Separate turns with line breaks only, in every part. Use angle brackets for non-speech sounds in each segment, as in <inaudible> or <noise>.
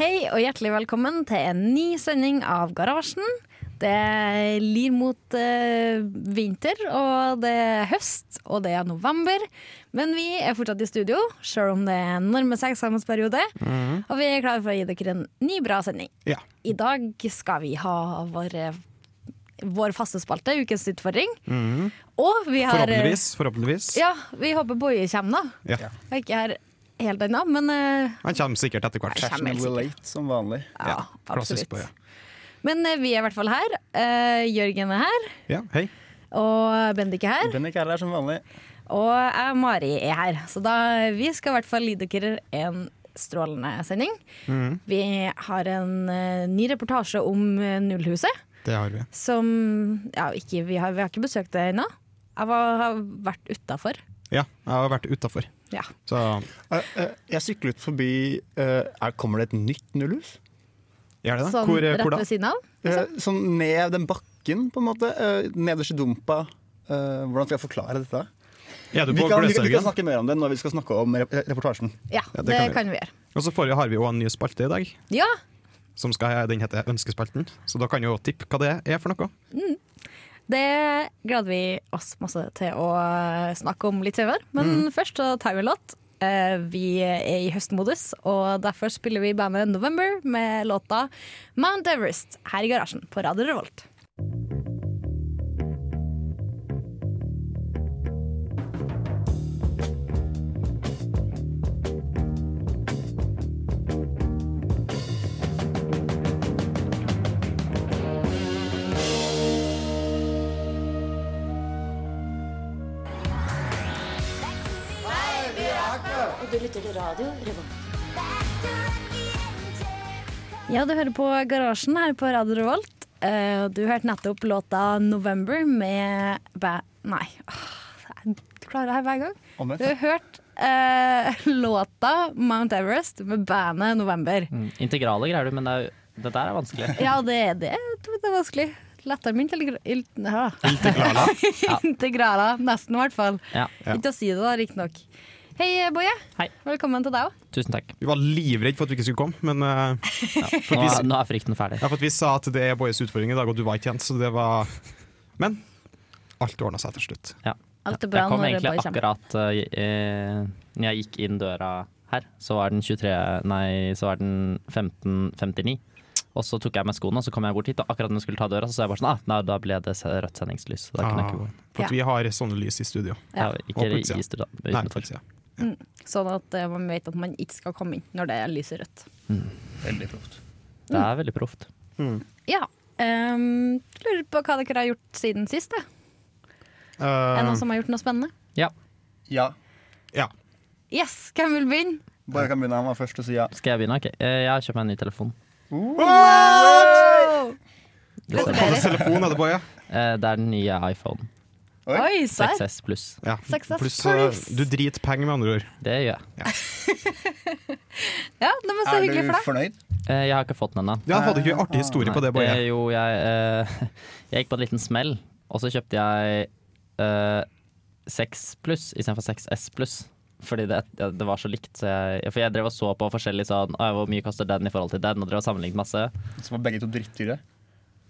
Hei og hjertelig velkommen til en ny sending av Garasjen. Det lir mot eh, vinter, og det er høst, og det er november. Men vi er fortsatt i studio, sjøl om det nærmer seg eksamensperiode.
Mhm.
Og vi er klare for å gi dere en ny, bra sending.
Ja.
I dag skal vi ha vår, vår faste spalte, Ukens utfordring. Og vi har
Mhm. Forhåpentligvis. forhåpentligvis.
eh, Ja, vi håper Boje kommer, da.
Ja.
Jeg er ikke her helt ennå, men eh,
Han kommer sikkert etter hvert.
Jeg kommer helt
Fashionable late, som vanlig.
ja,
klassisk
absolutt.
på, ja.
Men eh, vi er i hvert fall her. Eh, Jørgen er her,
Ja, hei.
og Bendik er her.
Bendik er her som vanlig.
Og jeg, Mari er her. Så da, vi skal i hvert fall gi dere en strålende sending.
Mm.
Vi har en eh, ny reportasje om eh, Nullhuset.
Det har vi.
Som ja, ikke, vi, har, vi har ikke besøkt det ennå. Jeg var, har vært utafor.
Ja, jeg har vært utafor.
Ja.
Så
Eh, Jeg syklet forbi eh, er, Kommer det et nytt nullhus?
gjør det det.
Sånn
Hvor, eh,
rett
hvor da?
ved siden av.
Eh, Sånn ned den bakken, på en måte. eh, Nederst i dumpa. Eh, hvordan skal jeg forklare dette?
Er du
Vi
på
kan, vi, kan- vi kan
Gløshaugen?
snakke mer om det når vi skal snakke om rep reportasjen.
Ja,
Ja, det
det
kan vi.
kan vi gjøre.
Og så får vi, har vi jo en ny spalte i dag,
Ja,
som skal, den heter Ønskespalten. Så da kan jo tippe hva det er for noe.
det gleder vi oss masse til å snakke om litt senere. Men først så tar vi en låt. Eh, Vi er i høstmodus, og derfor spiller vi bandet November med låta Mount Everest her i garasjen på Radio Revolt.
Du lytter til radio Revolt.
Ja, du hører på Garasjen her på Radio Revolt. Eh, Du hørte nettopp låta 'November' med ba Nei, Åh, du klarer det her hver gang.
Omvendt.
Du har hørt eh, <laughs> låta 'Mount Everest' med bandet 'November'.
Mm, Integrale greier du, men det, er, jo- det der er vanskelig.
<laughs> Ja, det, det, det er vanskelig. Letteren min til
<laughs>
Integrala. Integrala, nesten i hvert fall.
Ja.
Ikke å si det, da, riktignok. Hei, Boje.
Hei.
Velkommen til deg òg.
Tusen
<laughs>
takk.
Vi var livredd for at vi ikke skulle komme, men eh,
Nå er, nå er frykten ferdig.
ja, for at vi sa at det er Bojes utfordring i dag, og du var ikke kjent, så det var Men alt ordna seg til slutt.
Ja.
Alt er bra
Jeg kom
når
egentlig
Boje kommer.
akkurat uh, i- eh, Når jeg gikk inn døra her, så var den 23 Nei, så var den 15.59. Og så tok jeg med skoene, og så kom jeg bort hit, og akkurat når jeg skulle ta døra, så så jeg bare sånn ah, nei, da ble det se- rødt sendingslys. Så da kunne jeg ikke gå.
Ah, for at vi har sånne lys i studio.
Ja,
Ja.
ikke
Og på utsida.
i stua, men
Nei,
utenfor.
faktisk, ja.
Sånn at eh, man vet at man ikke skal komme inn når det er lyset rødt.
Veldig proft.
Det er
Mm.
veldig proft.
Ja. ehm, lurer på hva dere har gjort siden sist. da. Er det
Ehm.
Eh,
noen som har gjort noe spennende?
Ja.
Ja.
ja.
Yes, hvem vil begynne?
Bare kan begynne. Han var først og si ja.
Skal jeg begynne? Ok. Eh, Jeg har kjøpt meg en ny telefon.
Wow! <laughs>
Det stemmer.
Hva slags telefon er det, Boje?
Eh, Det er den nye iPhone
Oi, serr!
6S pluss.
Ja.
Success
Pluss
Plus.
eh, du driter penger, med andre ord.
Det gjør jeg.
Ja, det var så
Er
hyggelig
du
for deg.
fornøyd?
Eh, Jeg har ikke fått den ennå.
Ja, hadde ikke en artig historie på det,
Nei,
Boje?
eh, jo, jeg, eh, <laughs> jeg gikk på en liten smell, og så kjøpte jeg eh, 6 pluss istedenfor 6S pluss. Fordi det, det var så likt. Så jeg, for jeg drev og så på forskjellig sånn «Å, Hvor mye koster den i forhold til den? Og drev og sammenlignet masse.
Så var begge to drittdyre.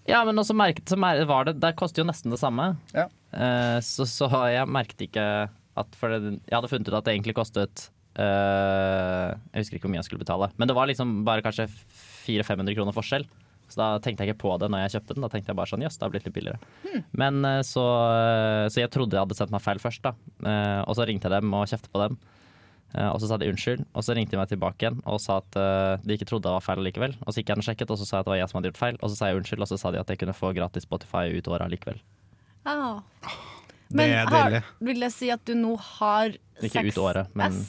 Ja, men også merket, så mer, var det Det koster jo nesten det samme.
Ja.
Eh, så, så jeg merket ikke at For det, jeg hadde funnet ut at det egentlig kostet eh, Jeg husker ikke hvor mye jeg skulle betale, men det var liksom bare kanskje 400-500 kroner forskjell. Så da tenkte jeg ikke på det når jeg kjøpte den. Da tenkte jeg bare sånn, jøss, det har blitt litt billigere. Men eh, så, så jeg trodde jeg hadde sendt meg feil først, da. Eh, og så ringte jeg dem og kjeftet på dem. Eh, og så sa de unnskyld, og så ringte de meg tilbake igjen og sa at eh, de ikke trodde det var feil likevel. Og så gikk jeg inn og sjekket, og så sa jeg at det var jeg som hadde gjort feil, og så sa jeg unnskyld, og så sa de at jeg kunne få gratis Spotify ut året likevel.
Ah.
Det
Men
er
har,
deilig.
vil jeg si at du nå har
Ikke ut
6S,
året, men-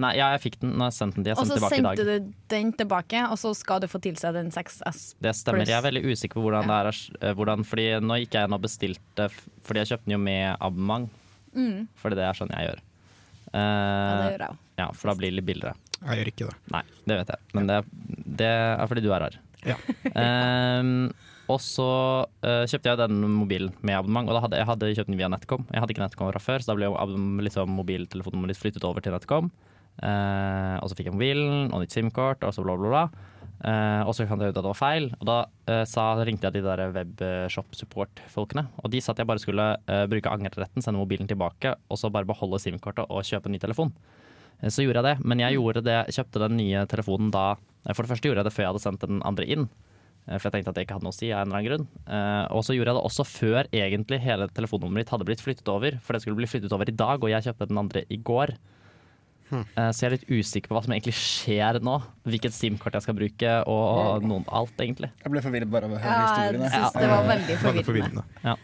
Nei, ja, jeg fikk den når jeg sendte den til. Jeg
og så
sendte den tilbake i dag.
sendte du den tilbake, og så skal du få til seg den 6S.
Det stemmer.
Pluss.
Jeg er veldig usikker på hvordan det er. eh, Hvordan, fordi nå gikk jeg inn og bestilte f- Fordi jeg kjøpte den jo med abonnement. Fordi det er sånn jeg gjør. Eh,
Mm. Ja, det gjør jeg òg.
ja, for da blir det litt billigere.
Jeg gjør ikke det.
Nei, det vet jeg. Men det, det er fordi du er rar.
Ja.
<laughs> Ehm, og så eh, kjøpte jeg den mobilen med abonnement, og da hadde, jeg hadde kjøpt den via NetCom. Jeg hadde ikke NetCom fra før, så da ble jo abon- liksom, mobiltelefonen min litt flyttet over til NetCom. Eh, og så fikk jeg mobilen og nytt SIM-kort, og så bla, bla, bla. Eh, og så fant jeg ut at det var feil, og da eh, sa, ringte jeg de der webshop-support-folkene. Og de sa at jeg bare skulle eh, bruke angreretten, sende mobilen tilbake, og så bare beholde SIM-kortet og kjøpe en ny telefon. Eh, Så gjorde jeg det, men
Mm.
jeg gjorde det, kjøpte den nye telefonen da eh, For det første gjorde jeg det før jeg hadde sendt den andre inn. eh, For jeg tenkte at jeg ikke hadde noe å si av en eller annen grunn. Eh, Og så gjorde jeg det også før egentlig hele telefonnummeret mitt hadde blitt flyttet over. For det skulle bli flyttet over i dag, og jeg kjøpte den andre i går.
Hm.
Eh, Så jeg er litt usikker på hva som egentlig skjer nå. Hvilket SIM-kort jeg skal bruke, og noen, alt, egentlig.
Jeg ble forvirret bare av å høre
Ja, jeg
historiene. Eh,
synes det var veldig
Veldig
forvirrende.
forvirrende.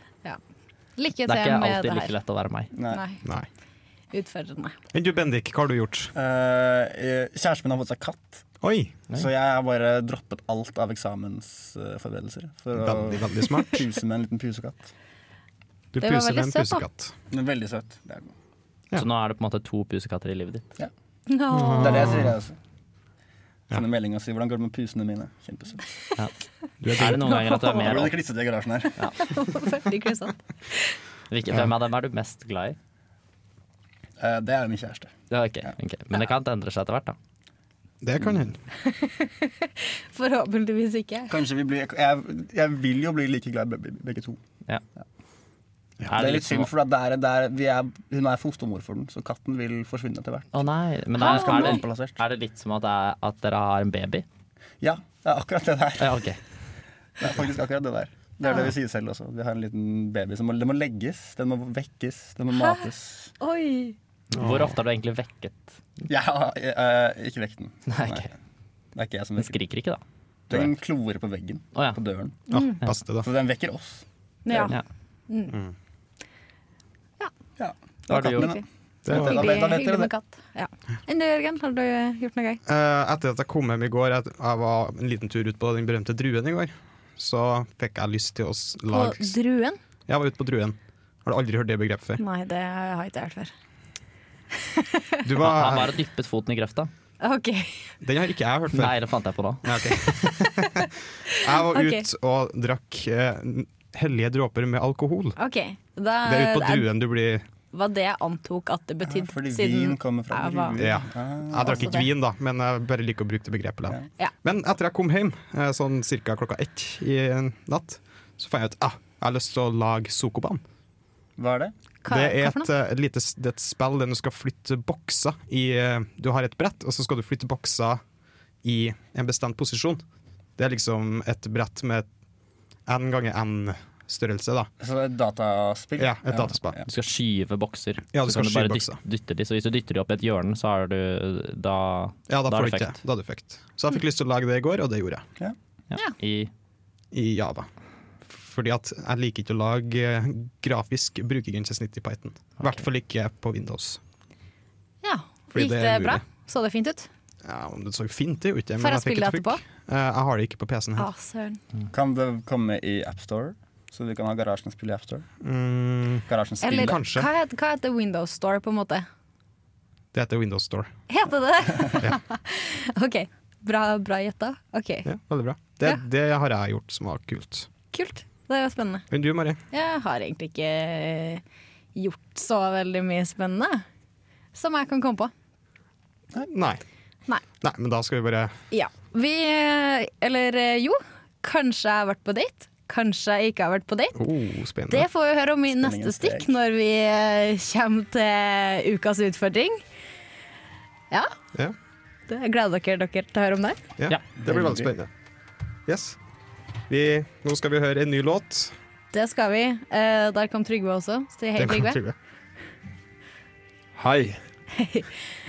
Lykke
Eh, Det
til
er ikke
med
alltid
det
like
her.
lett å være meg.
Nei.
Nei,
Nei.
utfordrende.
Enn du, Bendik, hva har du gjort?
Eh, kjæresten min har fått seg katt,
Oi,
så jeg har bare droppet alt av eksamensforberedelser for å
veldig, veldig smart.
puse med en liten pusekatt.
<laughs>
Du
Det var
puser med en
veldig søt, da.
pusekatt.
Den er veldig søt. Det er, den.
Ja.
Så nå er det på en måte to pusekatter i livet ditt.
<laughs> Åh.
det, er det jeg sier, jeg også.
Ja.
Sender melding og sier 'hvordan går det med pusene mine'? Kjempesøt.
Du er din.
Er det noen ganger at du er
Nå
mer
ble det klissete i garasjen her.
Veldig klissete.
Hvilke- Hvem av dem er du mest glad i?
Eh, det er jo min kjæreste.
Ja, ok, ok. Men det kan endre seg etter hvert, da.
Det kan hende.
Forhåpentligvis ikke.
Kanskje vi blir Jeg, jeg vil jo bli like glad i be- begge to.
Ja.
Det er litt
liksom-
synd, for at det er, det er, vi er, hun er fostermor for den, så katten vil forsvinne etter hvert.
Å nei, men er,
Skal
er,
bli
det,
omplassert.
er det litt som at, det er, at dere har en baby?
Ja, det er akkurat det der.
Ja, ok.
Det er faktisk akkurat det der. Det er det vi sier selv også. Vi har en liten baby som må, den må legges, den må vekkes, den må mates.
Oi!
Hvor ofte har du egentlig vekket?
Jeg har eh, ikke vekk den.
Nei, ok.
Det er ikke jeg som
Den
vekker den.
skriker ikke, da.
Den klorer på veggen,
Å ja.
på døren.
Ja,
Mm.
beste, da.
Så den vekker oss.
Ja.
ja.
Ja. Det
Hva har
var
du
katten min,
gjort?
da.
Det var-
da
Hyggelig,
vet- da vet
hyggelig
dere
med
det.
katt. Ja. Enn du, Jørgen? Har du gjort noe gøy?
Eh, etter at jeg kom hjem i går, jeg, jeg var en liten tur ut på den berømte druen i går, så fikk jeg lyst til å s-
På
lage s-
druen?
Jeg var ute på druen. Har du aldri hørt det
<laughs>
begrepet før?
Nei, det har jeg ikke hørt før.
Du
Han han
var,
bare dyppet foten i grøfta.
OK.
den har ikke jeg hørt før.
Nei, det fant jeg på nå.
Ja, ok. <laughs> jeg var
Ok.
ute og drakk eh, hellige dråper med alkohol.
ok. Da,
Det er ute på druen du blir
Var det jeg antok at det betydde?
Fordi
siden
vin kommer fra
jeg var-
druen.
Ja.
Ah.
Jeg drakk
Også
ikke
det.
vin, da, men jeg bare liker å bruke det begrepet. Da.
Ja.
Men etter jeg kom hjem, eh, sånn ca. klokka ett i natt, så fant jeg ut ah, jeg har lyst til å lage Sokoban.
Hva er det?
Hva,
det er
hva for
et,
noe?
eh, lite, s- det er et spill der du skal flytte bokser i eh, Du har et brett, og så skal du flytte bokser i en bestemt posisjon. Det er liksom et brett med n ganger n-størrelse, da.
Så et dataspill?
Ja, et dataspill.
Du skal skyve bokser.
Ja, du
Så kan
skal
du bare
skyve
dytte, dytte de. Så hvis du dytter de opp i et hjørne, så er du da,
Ja, da,
da
får
er
du
det
ikke.
fucked.
Da er du fucked. Så jeg fikk lyst til å lage det i går, og det gjorde jeg.
Ja. I
I Java. Fordi at jeg liker ikke å lage eh, grafisk brukergrensesnitt i Python. I hvert fall ikke på Windows.
Ja.
Fordi
Gikk
det
det,
er
bra?
mulig.
Så det fint ut?
Ja, om det så fint det er jo ikke,
Får
men
jeg
jeg fikk
spille
et
etterpå?
fugg. Jeg har det ikke på PC-en
Å,
her.
søren.
Kan det komme i AppStore? Så vi kan ha garasjen og spille i AppStore?
Mm,
Garasjen spiller.
Eller
kanskje.
hva heter, hva heter Windows Store, på en måte? <laughs>
det heter Windows Store.
Heter det det? <laughs> OK. Bra, bra gjetta. OK,
Ja, veldig bra. Det,
Ja.
det har jeg gjort som var kult.
kult. Det var spennende.
Enn du, Mari?
Jeg har egentlig ikke eh, gjort så veldig mye spennende som jeg kan komme på.
Nei.
Nei.
Nei, men da skal vi bare
Ja. Vi eh, Eller jo, kanskje jeg har vært på date. Kanskje jeg ikke har vært på date.
oh,
Det
spennende.
får vi høre om i
Spenningen
neste stikk,
steg.
når vi eh, kommer til ukas utfordring. Ja,
Ja.
det jeg gleder dere dere til å høre om det.
Ja,
Ja.
det blir veldig spennende. Yes. Vi, nå skal vi høre en ny låt.
Det skal vi. Eh, der kom Trygve også. Si hei,
Den kan
Trygve.
Trygve.
Hei.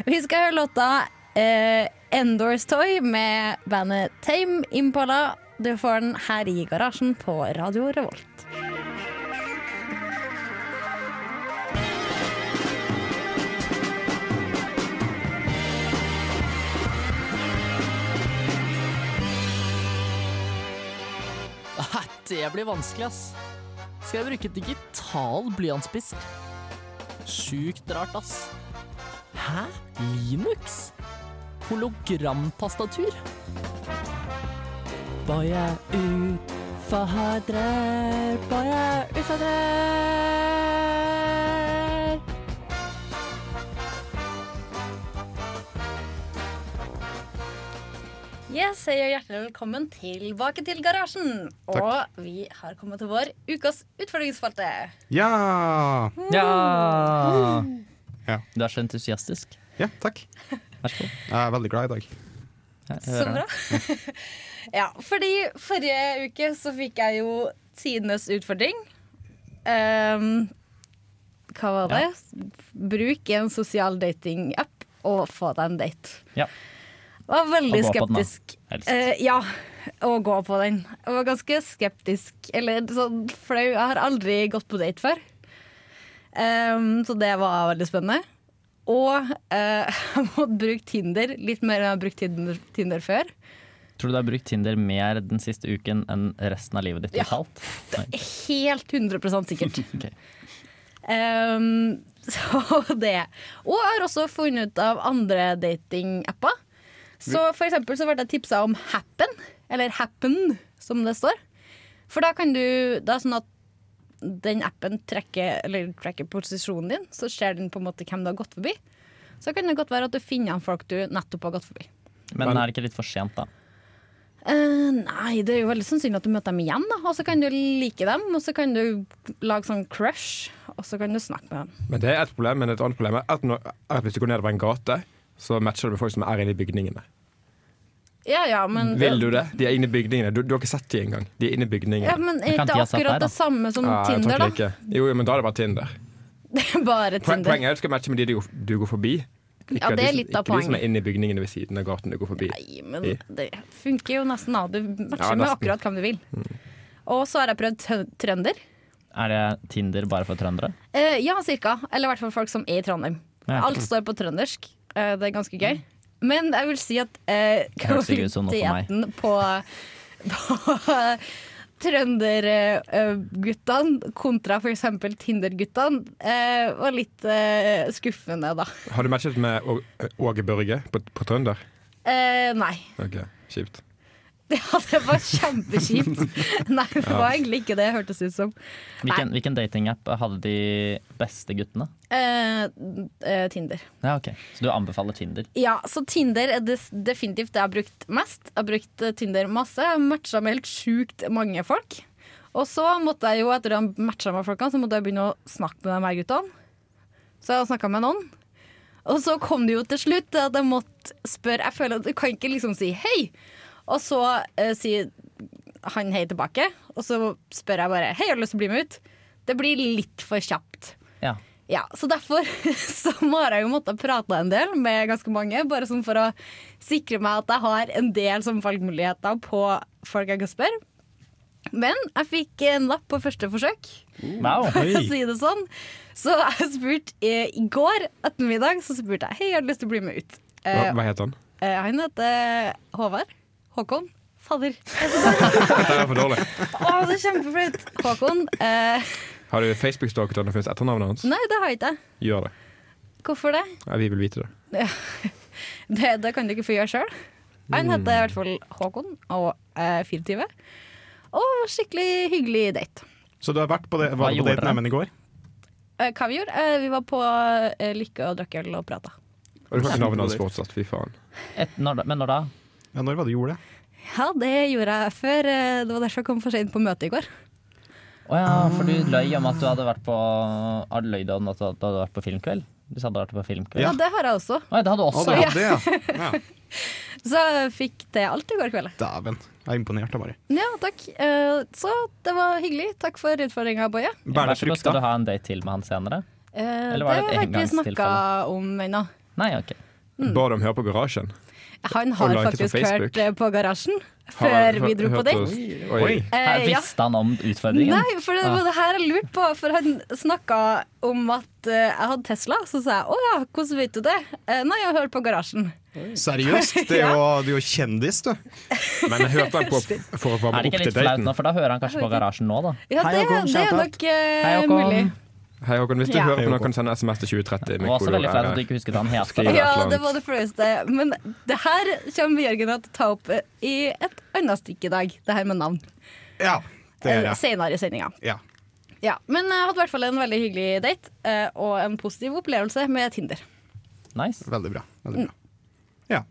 Vi skal høre låta eh, 'Endors Toy' med bandet Tame Impala. Du får den her i garasjen på Radio Revolt.
Nei, det blir vanskelig, ass. Skal jeg bruke digital blyantspiss? Sjukt rart, ass. Hæ? Linux? Hologramtastatur? Var jeg utfadrer? Var jeg utfadrer?
Yes, jeg gjør hjertelig velkommen tilbake til garasjen. Og vi har kommet til vår ukas utfordringsspalte.
Ja!
Ja!
Ja.
Du er så entusiastisk.
ja, takk.
Vær så god.
Jeg er veldig glad i dag.
Jeg
Så
hører
bra.
det.
<laughs> ja, fordi forrige uke så fikk jeg jo tidenes utfordring. Ehm, hva var det? Bruk en sosial datingapp og få deg en date.
Ja.
Var veldig
Og gå på den, da.
skeptisk.
Helst.
Eh, ja, og gå på den. Jeg var ganske skeptisk, eller sånn flau. Jeg har aldri gått på date før. Ehm, så det var veldig spennende. Og eh, <laughs> jeg må bruke Tinder litt mer enn jeg har brukt Tinder, Tinder før.
Tror du du har brukt Tinder mer den siste uken enn resten av livet ditt
Ja.
totalt? Nei.
Helt 100 sikkert.
Ok.
Ehm, så det. Og jeg har også funnet ut av andre datingapper. Så for eksempel så ble jeg tipsa om Happen, eller Happen, som det står. For da kan du Det er sånn at den appen trekker, eller tracker posisjonen din, så ser den på en måte hvem du har gått forbi. Så kan det godt være at du finner igjen folk du nettopp har gått forbi.
Men er det ikke litt for sent, da?
Eh, nei, det er jo veldig sannsynlig at du møter dem igjen, da. Og så kan du like dem, og så kan du lage sånn crush, og så kan du snakke med dem.
Men det er et problem, men et annet problem er at, når, er at hvis du går nedover en gate, så matcher du med folk som er inne i bygningene.
Ja, ja, men
Vil du det? De er inne i bygningene. Du, du har ikke sett de engang. De er inne i bygningene.
Ja, men
kan
er
ikke
ikke
jeg satt der,
akkurat
da?
det samme som
Ah, jeg tror
Tinder,
ikke
da?
det ikke- Jo, jo, men da er det bare Tinder.
<laughs> Det er bare
Poen-
Tinder.
Poenget er at du skal matche med de du, du går forbi. Ikke
Ja, det er
de som-
litt av
Ikke de som
poenget.
er inne i bygningene ved siden av gaten du går forbi.
Nei, men det funker jo nesten, da. Du matcher
Ja,
med
nesten. Mm.
akkurat hvem du vil. Og så har jeg prøvd tø- trønder.
Er det Tinder bare for trøndere?
Eh, ja, cirka. Eller i hvert fall folk som er i Trondheim.
Ja.
Alt står på trøndersk. Eh, det er ganske gøy. Men jeg vil si at eh,
høres ikke ut som noe for meg.
kvaliteten på, på eh, trønderguttene kontra f.eks. Tinder-guttene eh, var litt eh, skuffende, da.
Har du matchet med Å- Åge Børge på, på Trønder?
Eh, nei. <laughs>
Ok, Kjipt.
Ja, det var
<laughs>
kjempekjipt. Nei, det var egentlig ikke det det hørtes ut som.
Hvilken, hvilken datingapp hadde de beste guttene?
Eh, eh, Tinder.
Ja, ok. Så du anbefaler Tinder?
Ja, så Tinder er des- definitivt det jeg har brukt mest. Jeg har brukt eh, Tinder masse. Jeg har matcha med helt sjukt mange folk. Og så måtte jeg jo, etter å ha matcha med folkene, så måtte jeg begynne å snakke med de her guttene. Så jeg har snakka med noen. Og så kom det jo til slutt til at jeg måtte spørre Jeg føler at du kan ikke liksom si hei, og så eh, sier han hei tilbake. Og så spør jeg bare hei, har du lyst til å bli med ut? Det blir litt for kjapt.
Ja.
Ja, så derfor <laughs> så må jeg jo måtte prate en del med ganske mange, bare sånn for å sikre meg at jeg har en del sånn valgmuligheter på folk jeg kan spørre. Men jeg fikk en lapp på første forsøk,
Wow.
for å si det sånn. Så jeg spurte eh, i går ettermiddag så spurte jeg hei, jeg har lyst til å bli med ut. Eh,
Hva, hva heter han?
eh, han heter Håvard. Håkon. Fader.
Dette er for dårlig.
Å, det er kjempeflaut. Håkon. Eh,
Har du Facebook-stalket han og funnet etternavnet hans?
nei, det har jeg ikke.
Gjør det.
Hvorfor det?
Ja, vi vil vite det.
<laughs> Det, det kan du ikke få gjøre sjøl. Han heter i hvert fall Håkon og er 24. Og skikkelig hyggelig date.
Så du har vært på det, var du på
gjorde
daten
dere?
Emmen i går?
Eh, Hva vi gjorde? Eh, Vi var på eh, Lykke og drakk øl og prata.
Og du kan ikke navnet hans fortsatt, fy faen.
Et, når, da- men når da?
Ja, når var det du gjorde det?
Ja, det gjorde jeg før. eh, Det var derfor jeg kom for seint på møtet i går.
Å ja, for du løy om at du hadde vært på hadde løy om at du hadde vært på filmkveld? Du sa du hadde vært på filmkveld?
Ja,
Ja.
det har jeg også.
Å, ja, det hadde du
Å,
også.
det
ja.
var det,
<laughs>
ja. ja.
Så jeg fikk til alt i går kveld.
Dæven. Jeg er imponert, jeg bare.
Ja, takk. Eh, Så det var hyggelig. Takk for utfordringa, Boje.
Vær
Bærer
så god, skal
frukta.
du ha en date til med han senere?
Eh,
Eller
Det
var
har
det et
vi ikke snakka
engangstilfelle?
om ennå.
Nei, ok.
Eh, Mm.
Ba du om å høre på Garasjen?
Han har
Og likes på
faktisk
Facebook.
hørt eh, på Garasjen
Har
før
han hø-
vi dro på
hørt
date.
oss-
Oi.
Oi.
Her
Eh, ja.
visste han om utfordringen?
Nei, for det
Ah.
var det her jeg lurte på. For han snakka om at eh, jeg hadde Tesla. Så sa jeg å ja, hvordan vet du det? Eh, nei, jeg hører på garasjen.
Seriøst? Det er jo, du er jo kjendis, du.
Men jeg hørte
<laughs>
han på for å
Er
varme
det
opp
ikke
til
litt flaut
daten.
nå, for da hører han kanskje på garasjen nå, da.
Ja,
Hei,
det,
Håkon,
det er
shout out.
nok eh,
Hei, Håkon.
mulig.
Hei Håkon, hvis du
Ja.
hører på
Hei,
nå,
Håkon.
kan du sende SMS til 2030.
Det
med
var også
kodeord
veldig flaut
RR.
at du ikke husket hva han
Skriv.
heter.
et
Ja,
eller annet.
det var det flaueste. Men det her kommer Jørgen til å ta opp eh, i et annet stikk i dag. Det her med navn.
Ja, det er
Eh,
jeg.
Senere i sendinga.
Ja.
Ja, men jeg hadde i hvert fall en veldig hyggelig date, eh, og en positiv opplevelse med Tinder.
Nice.
Veldig bra. Veldig bra. Ja.
Mm.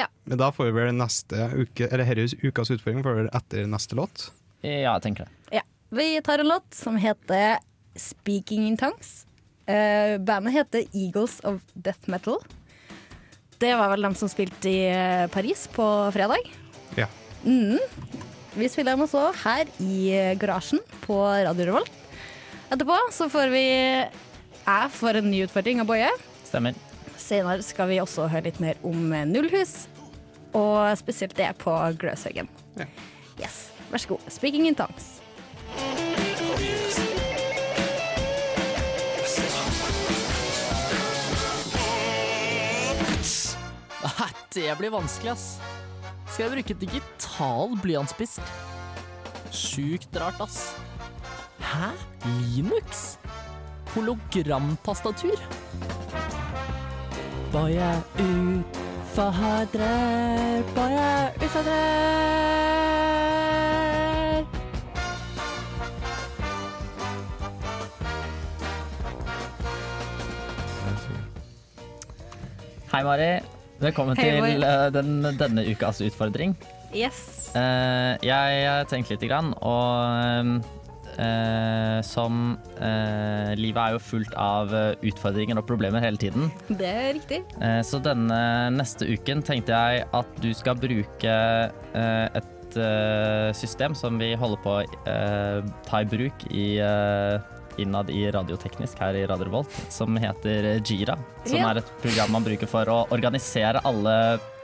Ja.
Men da får vi vel neste uke, eller herres ukas utfordring får vi vel etter neste låt.
Ja, jeg tenker det.
Ja. Vi tar en låt som heter 'Speaking in Tongues'. Eh, bandet heter Eagles of Death Metal. Det var vel dem som spilte i eh, Paris på fredag.
Ja.
Vi spiller dem også her i eh, garasjen på Radio Revolt. Etterpå så får vi Jeg får en ny utfordring av Boje.
Stemmer.
Senere skal vi også høre litt mer om eh, Nullhus, og spesielt det på Gløshaugen.
Ja.
Yes, vær så god. Speaking in tongues.
Nei, det blir vanskelig, ass. Skal jeg bruke digital blyantspiss? Sjukt rart, ass. Hæ? Linux? Hologramtastatur? Bare utfordrer, bare utfordrer. Hei, Mari. Velkommen
Hei, Boy.
til eh, den, denne ukas utfordring.
Yes.
Eh, jeg, jeg tenkte litt, grann, og eh, som eh, Livet er jo fullt av eh, utfordringer og problemer hele tiden.
Det er riktig.
Eh, så denne neste uken tenkte jeg at du skal bruke eh, et eh, system som vi holder på å eh, ta i bruk i, eh, innad i Radioteknisk her i Radio Revolt, som heter Jira. Som
Ja.
er et program man bruker for å organisere alle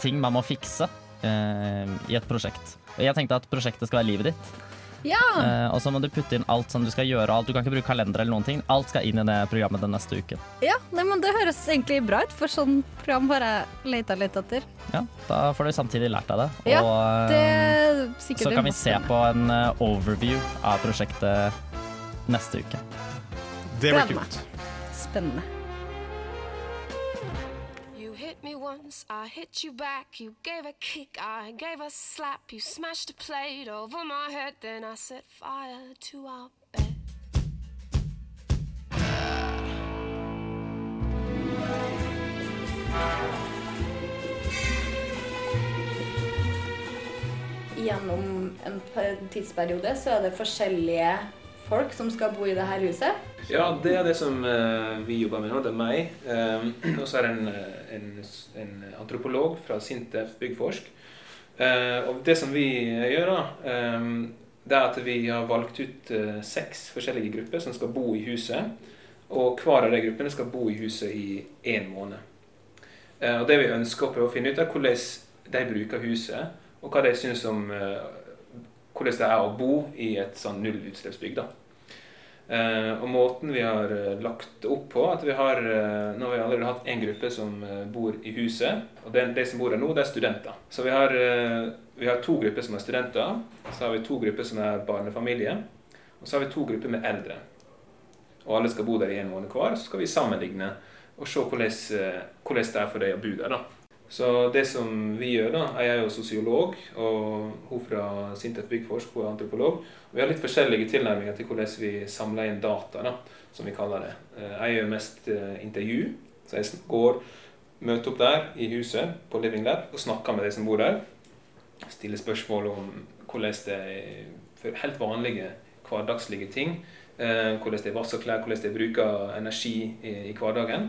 ting man må fikse eh, i et prosjekt. Og jeg tenkte at prosjektet skal være livet ditt.
Ja.
Eh, og så må du putte inn alt som du skal gjøre. og Alt. Du kan ikke bruke kalender eller noen ting. Alt skal inn i det programmet den neste uken.
ja nei, men det høres egentlig bra ut, for sånn program har jeg leta litt etter.
Ja, da får du samtidig lært deg det.
Ja,
og,
Det
eh,
er sikkert
så
en
kan vi se
masse-
på en eh, overview av prosjektet neste uke.
Det blir
Gleder meg.
kult.
Spennende.
You hit me once, I hit you back. You gave a kick, I gave a slap. You smashed a plate over my head, then I set fire to our bed.
Gjennom en tidsperiode så er det forskjellige folk som skal bo i det her huset.
Ja, det er det som eh, vi jobber med nå. Det er meg. eh, og så er det en, eh, en, s- en antropolog fra Sintef Byggforsk. Eh, og det som vi gjør, da, eh, det er at vi har valgt ut eh, seks forskjellige grupper som skal bo i huset. Og hver av de gruppene skal bo i huset i én måned. Eh, og det vi ønsker å prøve å finne ut, er hvordan de bruker huset, og hva de syns om eh, hvordan det er å bo i et sånn nullutslippsbygg. da. Eh, og måten vi har eh, lagt det opp på, at vi har, eh, nå har vi allerede hatt en gruppe som eh, bor i huset, og den, de som bor der nå, det er studenter. Så vi har, eh, vi har to grupper som er studenter, så har vi to grupper som er barnefamilie, og så har vi to grupper med eldre. Og alle skal bo der i en måned hver, så skal vi sammenligne og se hvordan, eh, hvordan det er for dem å bo der. da. Så det som vi gjør da, jeg er jo sosiolog, og hun fra Sintef Byggforsk hun er antropolog. Vi har litt forskjellige tilnærminger til hvordan vi samler inn data, da, som vi kaller det. Eh, Jeg gjør mest eh, intervju, så jeg sn- går, møter opp der i huset på Living Lab og snakker med de som bor der. Stiller spørsmål om hvordan det er for helt vanlige hverdagslige ting. eh, Hvordan de vasker klær, hvordan de bruker energi i i hverdagen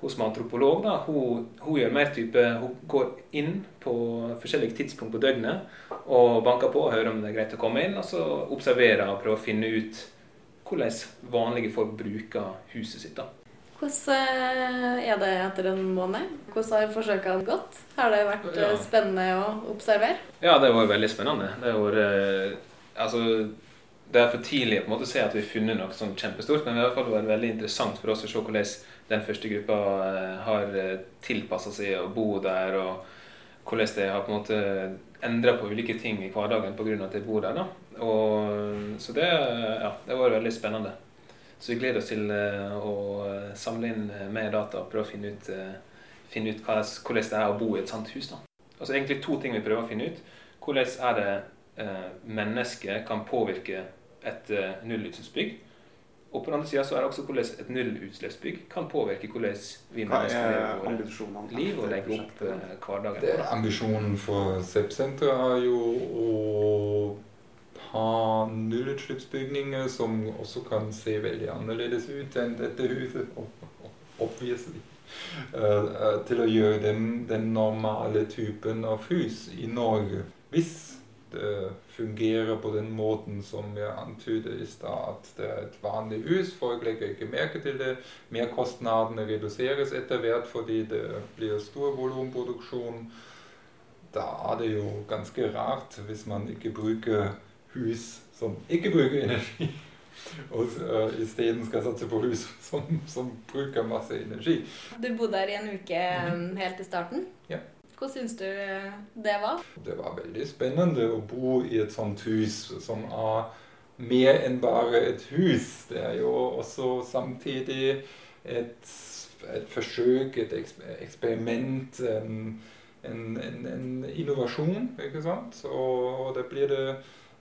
hun som er antropolog, da, hun, hun gjør mer type Hun går inn på forskjellige tidspunkt på døgnet og banker på og hører om det er greit å komme inn, og så observerer og prøver å finne ut hvordan vanlige folk bruker huset sitt. da.
Hvordan eh, er det etter en måned? Hvordan har forsøkene gått? Har det vært
Ja.
eh, spennende å observere?
Ja, det var veldig spennende. Det var, eh, altså, det er for tidlig på en måte, å si at vi har funnet noe sånn kjempestort, men det har i hvert fall vært veldig interessant for oss å se hvordan den første gruppa eh, har tilpassa seg å bo der, og hvordan de har på en måte endra på ulike ting i hverdagen pga. at de bor der. Da. Og, så det, eh, ja, det var veldig spennende. Så vi gleder oss til eh, å samle inn eh, mer data og prøve å finne ut, eh, finne ut hva, hvordan det er å bo i et sånt hus. da. Altså egentlig to ting vi prøver å finne ut. Hvordan er det eh, mennesket kan påvirke et eh, nullutslippsbygg? Og på den andre sida så er det også hvordan et nullutslippsbygg kan påvirke hvordan vi
Hva
mennesker
er
eh,
lever våre
ambisjonene?
liv og legge opp eh, hverdagen.
Det er ambisjonen for SEP-senteret er jo å ha nullutslippsbygninger som også kan se veldig annerledes ut enn dette huset, ob- ob- obviously. Eh, eh, til å gjøre den, den normale typen av hus i Norge. Hvis det fungerer på den måten som jeg antydet i stad, at det er et vanlig hus, folk legger ikke merke til det, merkostnadene reduseres etter hvert fordi det blir stor volumproduksjon. Da er det jo ganske rart hvis man ikke bruker hus som ikke bruker energi, og uh, isteden skal satse på hus som, som bruker masse energi.
Du bodde her i en uke
Mhm.
um, helt i starten.
Ja.
Hva syns du eh, det var?
Det var veldig spennende å bo i et sånt hus som er mer enn bare et hus. Det er jo også samtidig et, et forsøk, et eks- eksperiment, en, en, en, en innovasjon, ikke sant? Og da blir det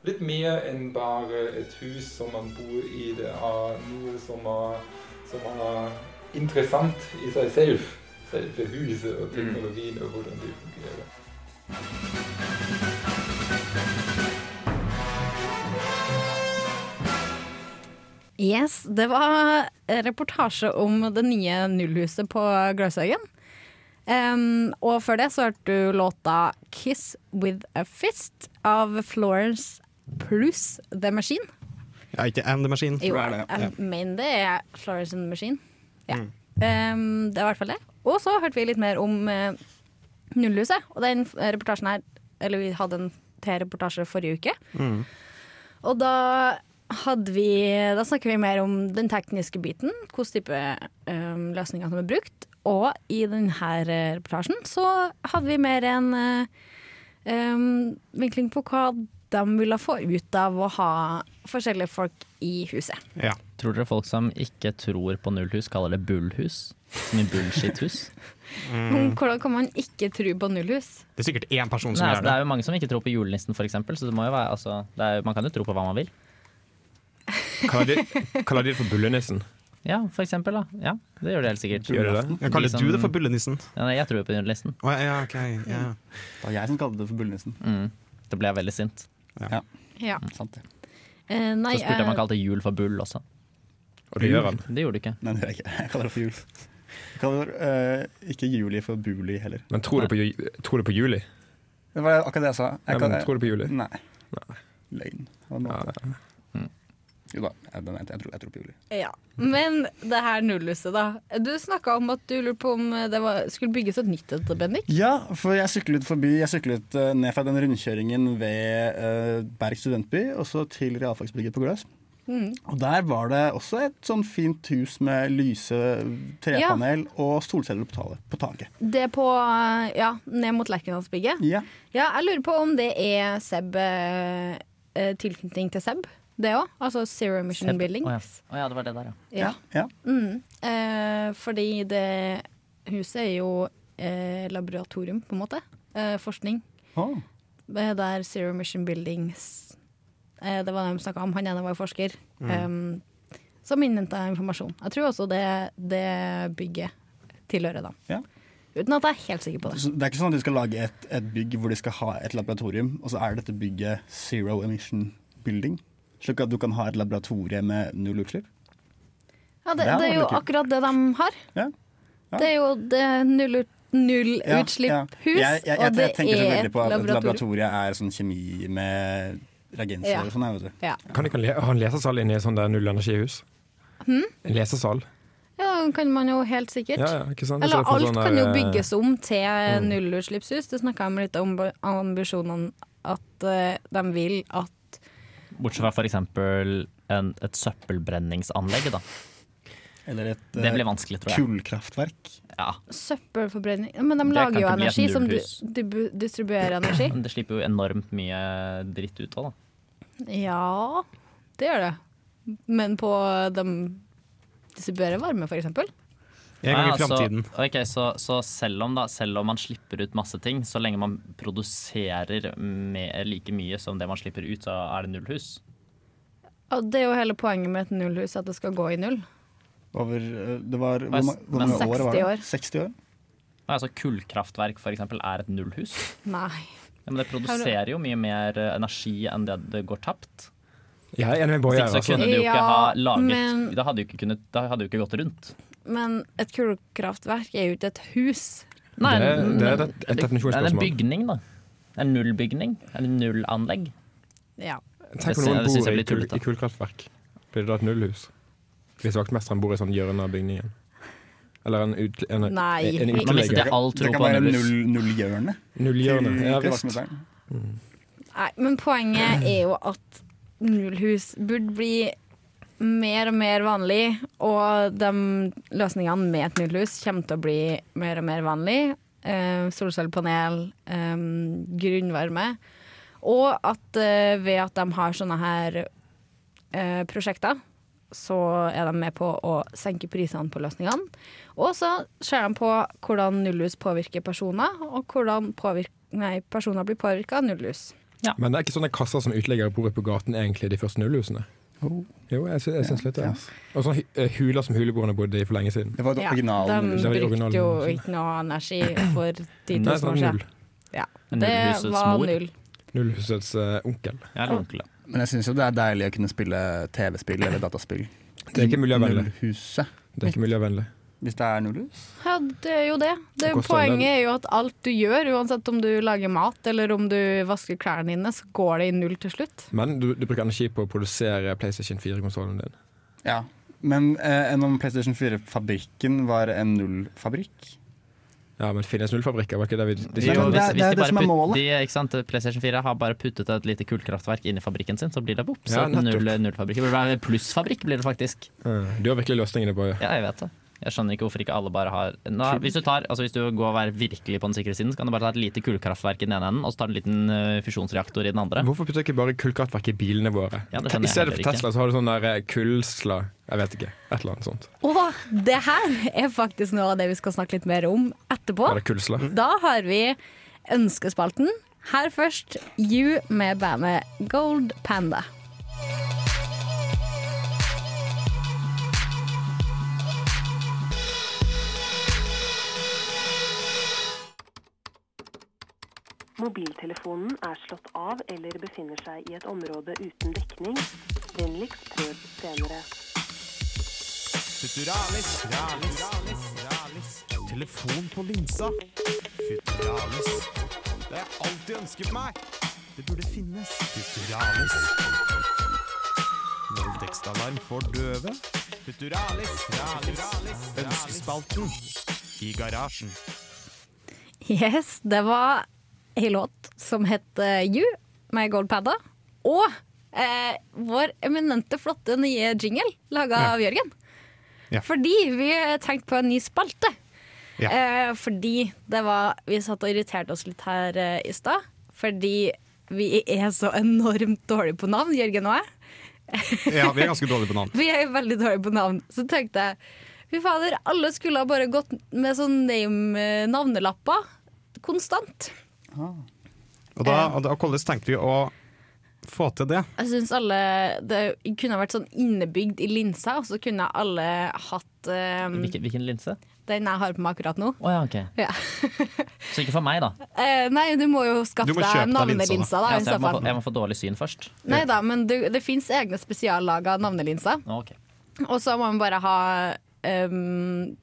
litt mer enn bare et hus som man bor i. Det er noe som er, som er interessant i seg selv. Selve huset og teknologien og hvordan det fungerer.
Yes, det var reportasje om det nye nullhuset på Gløshaugen. Em, og før det så hørte du låta 'Kiss With A Fist' av Florence pluss The Machine.
Ja, ikke And The Machine.
Jo,
Tror jeg det, ja. Mm.
jeg mener det er Florence and the Machine. Ja. Em, det var i hvert fall det. Og så hørte vi litt mer om eh, Nullhuset, og den eh, reportasjen her Eller vi hadde en T-reportasje forrige uke.
Mm.
Og da hadde vi Da snakker vi mer om den tekniske biten, hvilken type em, løsninger som er brukt. Og i denne eh, reportasjen så hadde vi mer en eh, em, vinkling på hva de ville få ut av å ha forskjellige folk i huset.
Ja.
Tror dere folk som ikke tror på nullhus, kaller det bullhus? Som i
<laughs>
bullshit-hus? Mm.
Men Hvordan kan man ikke tro på nullhus?
Det er sikkert én person som
Nei,
gjør
altså, det
det.
er jo mange som ikke tror på julenissen, f.eks., så det må jo være, altså, det er, jo- man kan jo tro på hva man vil.
Kaller de, kaller de det for bullenissen?
Ja, for eksempel, da. Ja, det gjør det liksom- helt sikkert.
Gjør de det?
Ja, kaller
de som-
du det for bullenissen?
Ja, nei, jeg tror jo på julenissen.
Å, ja, ok. Ja.
Det var jeg som kalte det for bullenissen.
Mm. Da ble jeg veldig sint.
Ja.
Sant det.
Eh, nei,
Mm. Så spurte jeg om han
eh,
kalte jul for bull også.
Og det gjør han.
Det gjorde du ikke.
Nei, det gjør jeg ikke. Jeg kaller det for jul. Jeg kaller eh, ikke juli for buli heller.
Men tror du på, ju- tror du på juli?
Det var akkurat det jeg sa.
Nei,
Jeg
men tror du på juli?
Nei. Løgn. Det var en
Ja. Mm.
måte. Jo da, jeg, den- jeg, tror, jeg tror på juli.
ja. Men det her nullhuset, da. Du snakka om at du lurte på om det var, skulle bygges et nytt et, Bendik.
Ja, for jeg syklet forbi Jeg syklet eh, ned fra den rundkjøringen ved eh, Berg studentby og så til realfagsbygget på Gløs. Og der var det også et sånn fint hus med lyse trepanel og solceller på, talet, på taket.
Det på eh, Ja, ned mot Lerkendalsbygget.
Ja.
Ja, jeg lurer på om det er Seb eh, eh, Tilknytning til Seb, det òg? Altså Zero Emission
Seb-
Building.
Å ja. Å ja, det var det der, ja.
Ja.
ja.
Mm. Eh, fordi det huset er jo eh, laboratorium, på en måte. Eh, forskning.
Å.
Eh, Der Zero Mission Buildings eh, Det var det de snakka om. Han ene var jo forsker.
Mm.
em, som innhenta informasjon. Jeg tror også det, det bygget tilhører dem.
Ja.
Uten at jeg er helt sikker på det.
Så det er ikke sånn at de skal lage et, et bygg hvor de skal ha et laboratorium, og så er dette bygget zero emission building? Slik at du kan ha et laboratorie med null utslipp?
Ja, det,
Det her
det er jo
var litt kult.
akkurat det de har.
Ja. Ja.
Det er jo det null, null
Ja, ja.
utslipp-hus,
Jeg, jeg, jeg,
og det
tenker så
er
veldig
et
på at et
laboratorium.
laboratorie er sånn kjemi med reagenser
Ja.
og sånn. her, Vet du.
Ja.
Kan du kan le ha en lesesal inne i et sånt der nullenergihus?
Hmm?
En lesesal?
ja, kan man jo helt sikkert.
Ja, ja, ikke sant?
Eller
Så får
alt
sånn
kan
der,
jo
eh, mm.
bygges om til nullutslippshus. Det snakka jeg om litt om ambisjonene at eh, de vil at
Bortsett fra f.eks. et søppelbrenningsanlegg, da.
Eller et
Det blir
eh,
vanskelig, tror jeg.
kullkraftverk.
Ja,
søppelforbrenning Men de
Det kan
lager jo
ikke bli et
energi som du,
nullhus.
dibu- distribuerer energi.
<laughs> men Det slipper jo enormt mye dritt ut av, da.
Ja, det gjør det. Men på de distribuerer varme, for eksempel.
En gang
Ah,
i framtiden.
Så, ok, så, så selv, om da, selv om man slipper ut masse ting, så lenge man produserer mer, like mye som det man slipper ut, så er det nullhus?
Og Det er jo hele poenget med et nullhus, at det skal gå i null.
Over eh, Det var
Hva
hvor,
er s-
ma- hvor
hva er
mange år var
60 år?
det? 60 år.
Nei, Altså Kullkraftverk for eksempel er et nullhus.
Nei.
Ja, men det produserer jo mye mer eh, energi enn det det går tapt.
Jeg er enig med Bård altså.
Hvis ikke så
Gjerde.
kunne de jo ikke
Ja,
ha laget
men-
Da hadde jo ikke, kunnet, da hadde jo ikke gått rundt.
Men et kullkraftverk er jo ikke et hus.
Nei,
Det, det er
men-
et, et
Det er en
definisjonsspørsmål.
bygning, da. En nullbygning. En nullanlegg.
Ja.
Det
Tenk om
sy-
noen
det synes
bor
jeg
i,
blir
kull,
tullete.
i kullkraftverk. Blir det da et nullhus? Hvis vaktmesteren bor i sånn hjørne av bygningen. Eller en, ut, en,
Nei.
en
Man
Man mistet
uteligger.
jeg all
Det
tro
kan
på
være
nullhus.
null- nullhjørnet
Nullhjørne.
til
Ja, visst.
Mm, vaktmesteren.
Nei, men poenget er jo at nullhus burde bli mer og mer vanlig, og de løsningene med et nullhus kommer til å bli mer og mer vanlig. Eh, solcellepanel, eh, grunnvarme. Og at eh, ved at de har sånne her eh, prosjekter, så er de med på å senke prisene på løsningene. Og så ser de på hvordan nullhus påvirker personer, og hvordan påvirk- nei, personer blir påvirka av nullhus.
Men det er ikke sånne kasser som uteliggere bor i på gaten, egentlig, de første nullhusene.
Oh.
Jo, jeg, sy- jeg syns litt det. Og sånne hu- eh, huler som huleboerne bodde i for lenge siden.
Det var det
Ja,
originale
de
nullhuset.
Det var de
brukte
originale
jo
nullhusene.
ikke noe energi for 10
Nei,
000 år
sånn
siden.
null,
Ja.
En
Det
nullhusets
var
mor.
null.
nullhusets eh, onkel.
Ja, eller onkel. ja.
Men jeg syns jo det er deilig å kunne spille TV-spill eller dataspill.
Det er ikke miljøvennlig.
Nullhuset.
Det er ikke miljøvennlig.
Hvis det er nullhus.
Ja, det er jo det. det
Det koster en
poenget
del.
er jo at alt du gjør, uansett om du lager mat eller om du vasker klærne dine, så går det i null til slutt.
Men du, du bruker energi på å produsere PlayStation 4-konsollen din.
Ja. Men eh, enn om PlayStation 4-fabrikken var en nullfabrikk?
Ja, men finnes nullfabrikker, var ikke det vi det
Jo,
Men
det er- det
hvis-
er
hvis de
det
bare
som er
putt-
målet.
De, ikke sant? PlayStation 4 har bare puttet et lite kullkraftverk inn i fabrikken sin, så blir det bops.
Ja,
et
nettopp.
null, nullfabrikk. Det blir bare Plussfabrikk blir det faktisk.
Mm. Du har virkelig løsningene på
Ja, jeg vet det. Jeg skjønner ikke hvorfor ikke alle bare har Nå, hvis, du tar, altså hvis du går og er virkelig på den sikre siden, så kan du bare ta et lite kullkraftverk i den ene enden, og så tar du en liten eh, fusjonsreaktor i den andre.
Hvorfor putter ikke bare kullkraftverk i bilene våre?
Ja, det skjønner jeg
I
heller
stedet for
ikke.
Tesla så har du sånn der eh, kullsla Jeg vet ikke. Et eller annet sånt.
Og det her er faktisk noe av det vi skal snakke litt mer om etterpå.
Er det kullsla?
Mm.
Da har vi ønskespalten. Her først You med bandet Gold Panda.
Mobiltelefonen er slått av eller befinner seg i et område uten dekning. Vennligst prøv senere.
Futuralis, ralis, ralis. Telefon på linsa. Futuralis. Det har jeg alltid ønsket meg. Det burde finnes. Futuralis. Voldtektsalarm for døve. Futuralis, ralis. Ønskespalten i garasjen.
Yes, det var ei låt som het eh, You med Goldpadda. Og eh, vår eminente, flotte nye jingle laga av Jørgen.
Ja.
Fordi vi tenkte på en ny spalte.
Ja.
Eh, fordi det var Vi satt og irriterte oss litt her eh, i stad. Fordi vi er så enormt dårlige på navn, Jørgen og jeg.
<laughs> Ja, vi er ganske dårlige på navn.
Vi er jo veldig dårlige på navn. Så tenkte jeg fy fader, alle skulle ha bare gått med sånn name, navnelapper konstant.
Og da, og da hvordan tenkte vi å få til det?
Jeg synes alle Det kunne ha vært sånn innebygd i linsa, og så kunne alle hatt um,
Hvilken, hvilken linse?
den jeg har på meg akkurat nå.
Å ja, ok.
Ja. <laughs>
Så ikke for meg, da.
Eh, nei, du må jo skaffe
Du må
deg
kjøpe deg linsa,
navnelinsa, da. i
Ja, så
så
jeg, må få,
fall.
jeg må få dårlig syn først.
Nei da, men du, det fins egne spesiallaga navnelinser.
Å, ok.
Og så må man bare ha ehm,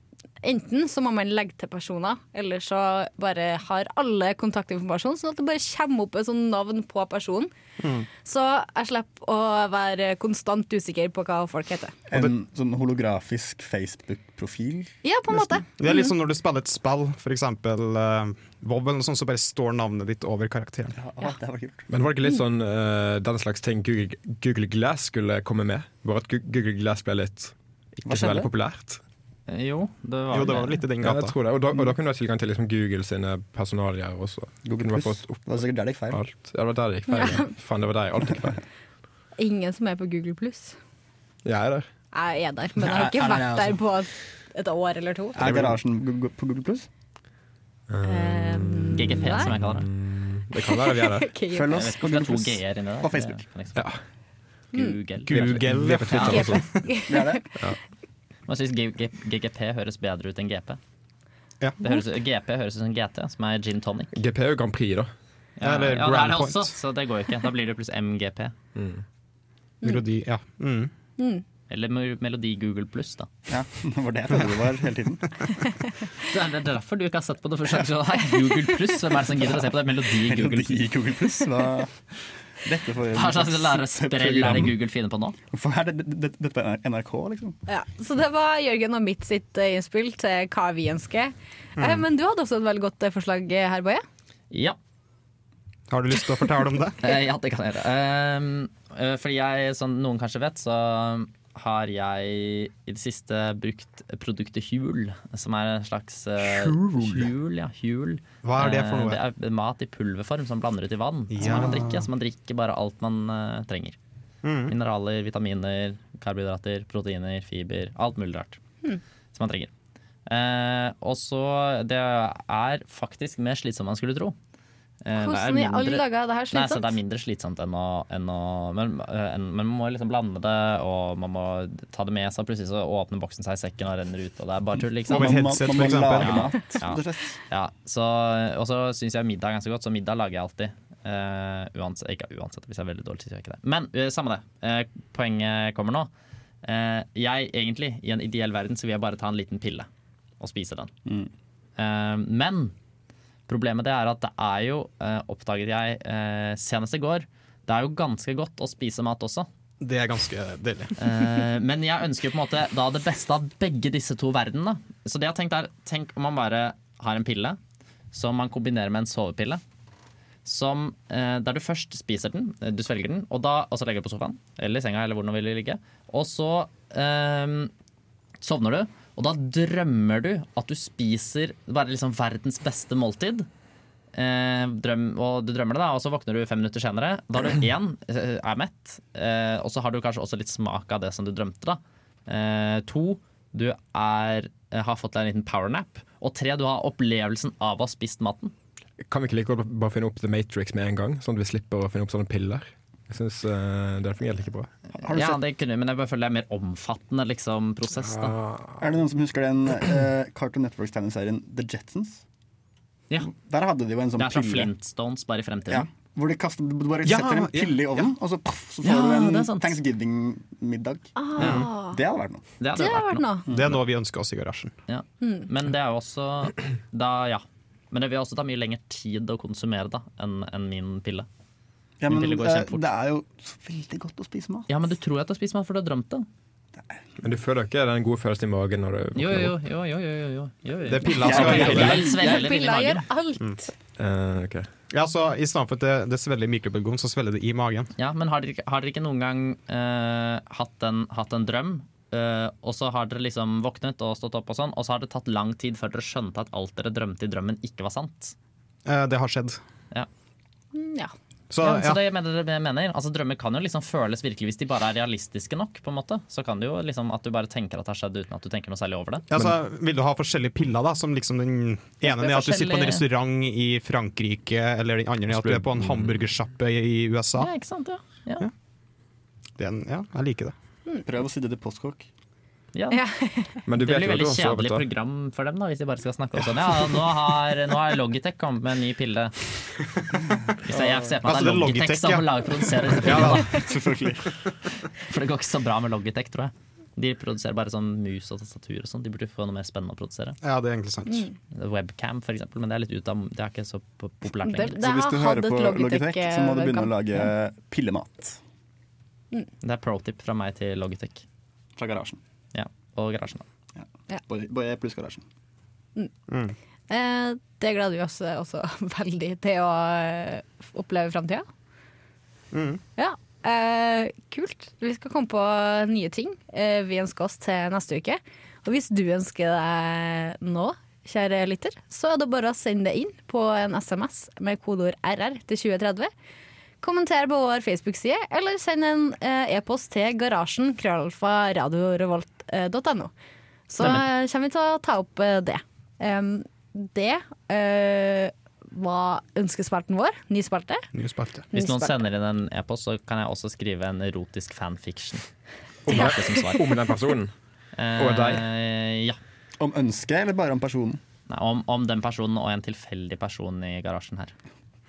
Enten så må man legge til personer, eller så bare har alle kontaktinformasjon, sånn at det bare kommer opp et sånt navn på personen.
Mm.
Så jeg slipper å være konstant usikker på hva folk heter.
En sånn holografisk Facebook-profil?
Ja, på en måte.
Det er litt som når du spiller et spill, f.eks. Uh, Vov eller noe sånt, så bare står navnet ditt over karakteren.
Ja, det var kult.
Men var det ikke litt sånn eh, den slags ting Google, Google Glass skulle komme med? Bare at Gu- Google Glass ble litt
Hva
ikke så
skjedde?
veldig populært?
Jo, det var,
Jo, det var litt i den
Ja, jeg
gata.
tror det. Og da, og da kunne du ha tilgang til liksom Google sine personalier også. Google kunne du ha
Pluss.
fått
Det
opp
var sikkert der det gikk feil.
alt. Ja, det var der det gikk feil. Ja. <laughs> Faen, det var der alt gikk feil.
Ingen som er på Google pluss.
<laughs> Jeg er der.
Jeg er der, men jeg har
Ja,
ikke
er det
vært
det,
der på et år eller to.
Er garasjen gu- gu- på Google Pluss?
Ehm,
GGP,
nei. <laughs>
som jeg kaller det.
Eh, Det kan være vi er der.
Ok,
Følg
Jeg
oss
vet ikke
på
om det
Google
er to
Pluss.
g-er inni der.
På Facebook.
Det kan liksom-
Ja.
Google.
Google, ja.
Ja.
Det er det. Ja.
Man syns GGP høres bedre ut enn GP.
Ja.
Det høres, GP høres ut som GT, som er gin tonic.
GP er jo Grand Prix, da.
Ja, ja, det er det også, så det går jo ikke. Da blir det pluss MGP.
Melodi, ja. Mm.
Mm.
Eller me- Melodi Google pluss, da.
Ja, det var det
<laughs>
jeg trodde det var hele tiden.
Det er det er derfor du ikke har sett på det første gang. så, Hei, Google pluss, hvem er det som gidder å se på det? Melodi Google pluss.
Melodi Google Plus. Hva, dette får
Hva slags lærerstell er det Google finner på nå?
Hvorfor er det- det- det- dette på NRK, liksom?
Ja, så det var Jørgen og mitt sitt eh, innspill til hva vi ønsker. Eh,
Mm.
Men du hadde også et veldig godt eh, forslag eh, her, Boje.
Ja.
Har du lyst til å fortelle om det?
Eh, ja, det kan jeg gjøre. Ehm, eh, fordi jeg, som noen kanskje vet, så har jeg i det siste brukt produktet Hjul, som er en slags eh,
Hjul?
hjul, ja, hjul.
Hva er det for noe?
Eh, Det er mat i pulverform som blander ut i vann, som
Ja.
man kan drikke. Så man drikker bare alt man eh, trenger.
Mm.
Mineraler, vitaminer, karbohydrater, proteiner, fiber. Alt mulig rart
Mm.
som man trenger. Eh, og så Det er faktisk mer slitsomt enn man skulle tro. Eh, det er
Hvordan i alle
mindre-
dager er det her
Nei, så
slitsomt?
det er mindre slitsomt enn å, enn å men, eh, enn- men man må liksom blande det, og man må ta det med seg. og Plutselig så åpner boksen seg i sekken og renner ut, og det er bare tull. Liksom.
Og et Man må- headset, man må for eksempel. lage
Ja,
mat,
ja.
rett og slett.
Ja, så, og så syns jeg middag er ganske godt, så middag lager jeg alltid. Eh, uansett, ikke uansett, hvis jeg er veldig dårlig, så gjør jeg ikke det. Men eh, samme det. Eh, poenget kommer nå. Eh, jeg egentlig, i en ideell verden, så vil jeg bare ta en liten pille og spise den. Eh, men problemet det er at det er jo, eh, oppdaget jeg eh, senest i går, det er jo ganske godt å spise mat også.
<laughs> Det er ganske deilig.
Eh, men jeg ønsker jo på en måte da det beste av begge disse to verdenene. Så det jeg har tenkt er, tenk om man bare har en pille som man kombinerer med en sovepille. Som, eh, der du først spiser den, eh, du svelger den, og, da, og så legger du på sofaen eller i senga. eller hvor den vil ligge Og så eh, sovner du, og da drømmer du at du spiser bare liksom verdens beste måltid. Eh, drøm, og du drømmer det, da, og så våkner du fem minutter senere. Da har du
<clears throat>
én, eh, er mett, eh, og så har du kanskje også litt smak av det som du drømte. da eh, To, du er, eh, har fått deg en liten powernap. Og tre, du har opplevelsen av å ha spist maten.
Kan vi ikke like godt bare finne opp The Matrix med en gang, sånn at vi slipper å finne opp sånne piller? Jeg syns eh, det fungerte like bra.
Ja, det kunne, vi, men jeg bare føler det er mer omfattende liksom, prosess. da
Er det noen som husker den eh, Cartoon Networks-tegneserien The Jetsons?
Ja.
Der hadde de jo en sånn
Det er som
pille.
Flintstones, bare i
Ja,
fremtiden.
hvor de kaster, du bare
Ja,
setter en
ja,
pille i ovnen, og så, paff, så får
Ja,
du
det er
en
sant.
Thanksgiving-middag.
Ah.
Det hadde vært noe.
Det hadde Det hadde vært Hmm. vært noe. noe.
Det er noe vi ønsker oss i garasjen.
Ja.
Mm.
Men det er jo også da, ja. Men det vil også ta mye lengre tid å konsumere da enn enn min pille.
Ja,
min
men
pille går
det,
kjempefort.
det er jo så veldig godt å spise mat.
Ja, men du tror at du har spist mat, for du har drømt det.
Men du føler ikke den gode følelsen i magen når du våkner
Jo, jo,
opp?
jo. jo, jo, jo, jo, jo, jo.
Det er pilla som
Jeg-
gjør det.
jeg- svelger den inn i
Pilla gjør
magen.
alt.
Eh, ok.
Ja, så I stedet for at det, det svelger i mikrobølgeovnen, så svelger det i magen.
Ja, men har dere, ikke- har dere ikke noen gang eh, hatt, en, hatt en drøm, eh, og så har dere liksom våknet og stått opp og sånn, og så har det tatt lang tid før dere skjønte at alt dere drømte i drømmen ikke var sant?
Eh, Det har skjedd.
Ja.
Mm, ja.
Så,
ja, så
ja.
det jeg mener, det jeg mener. Altså, drømmer kan jo liksom føles virkelig hvis de bare er realistiske nok. på en måte. Så kan det jo liksom at du bare tenker at det har skjedd uten at du tenker noe særlig over det.
Ja, så vil du ha forskjellige piller, da? Som liksom den ene
det
er at du sitter på en
forskjellige-
restaurant i Frankrike, eller den andre er at du er på en hamburgersjappe i i USA.
Ja, ikke sant, ja. Ja.
Det er en, ja, jeg liker det.
Prøv å sitte til <laughs> postkokk.
Ja.
Ja.
Men
det
du
blir
vet jo at du
veldig
har sovet,
kjedelig
da.
program for dem da, hvis de bare skal snakke om sånn. Ja, nå har, nå har Logitech kommet med en ny pille. Hvis jeg, jeg ser på at
Altså,
det
det
er
er
Logitech
Logitech,
som
ja.
lager- produserer disse
Ja,
pillene.
da, selvfølgelig.
For det går ikke så bra med Logitech, tror jeg. De produserer bare sånn mus og tastatur og sånn. De burde få noe mer spennende å produsere.
Ja, det er egentlig sant.
Mm. Webcam, for eksempel, men det er litt ut av Det er ikke så po- populært
Det-
lenger.
det Så hvis har du hører hatt et på Logitech,
Logitech, så må du begynne å
webcam.
lage pillemat.
Det er pro tip fra meg til Logitech.
Fra garasjen.
Ja, og garasjen. da.
Ja.
Både- Både pluss garasjen.
Eh, Det gleder vi oss eh, også <laughs> veldig til å eh, oppleve framtida. Ja. Eh, kult. Vi skal komme på nye ting eh, vi ønsker oss til neste uke. Og hvis du ønsker deg nå, kjære lytter, så er det bare å sende det inn på en SMS med kodeord RR til 2030. Kommenter på vår Facebook-side, eller send en eh, e-post til garasjen krøllalfa radiorevolt.no. Så eh, kommer vi til å ta opp eh, det. Em, det eh, hva ønskespalten vår? Ny spalte?
Hvis noen
Nyspalte.
sender inn en e-post, så kan jeg også skrive en erotisk fanfiction.
Om
Tilbake som svar.
Om den personen?
Eh,
Og deg?
Ja.
Om ønsket, eller bare om personen?
Nei, om, om den personen og en tilfeldig person i garasjen her.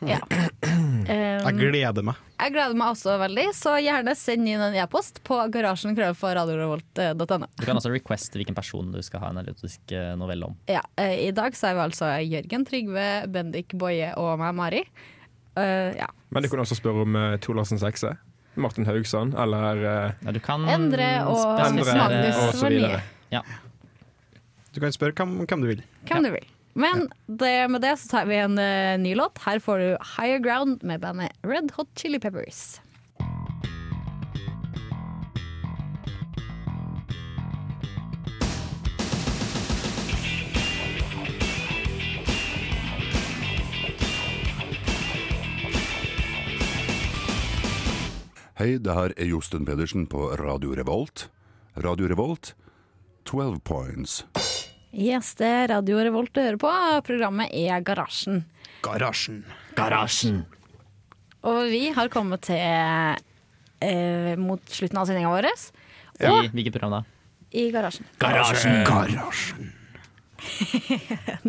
Ja. Um,
gleder meg.
Jeg gleder meg også veldig, så gjerne send inn en e-post på garasjenkrøllforradiorevolt.no.
Du kan også requeste hvilken person du skal ha en erotisk eh, novelle om.
Ja, eh, I dag så er vi altså Jørgen, Trygve, Bendik, Boje og meg, Mari. Eh, ja.
Men du kan også spørre om uh, Thorlassens ekse. Martin Haugsand, eller eh,
Endre og
Endre
Magnus
og så videre.
Vernier.
Du kan spørre hvem, hvem du vil.
Hvem du vil. Men det, med det så tar vi en eh, ny låt. Her får du 'Higher Ground' med bandet Red Hot Chili Peppers.
Hei, det her er Josten Pedersen på Radio Revolt. Radio Revolt, 12 points.
Yes, det er Radio Revolt du hører på. Programmet er Garasjen.
Garasjen.
Garasjen.
Og vi har kommet til eh, mot slutten av sendinga vår.
I
Og
hvilket program da?
i garasjen. <laughs>
Garasjen.
Garasjen.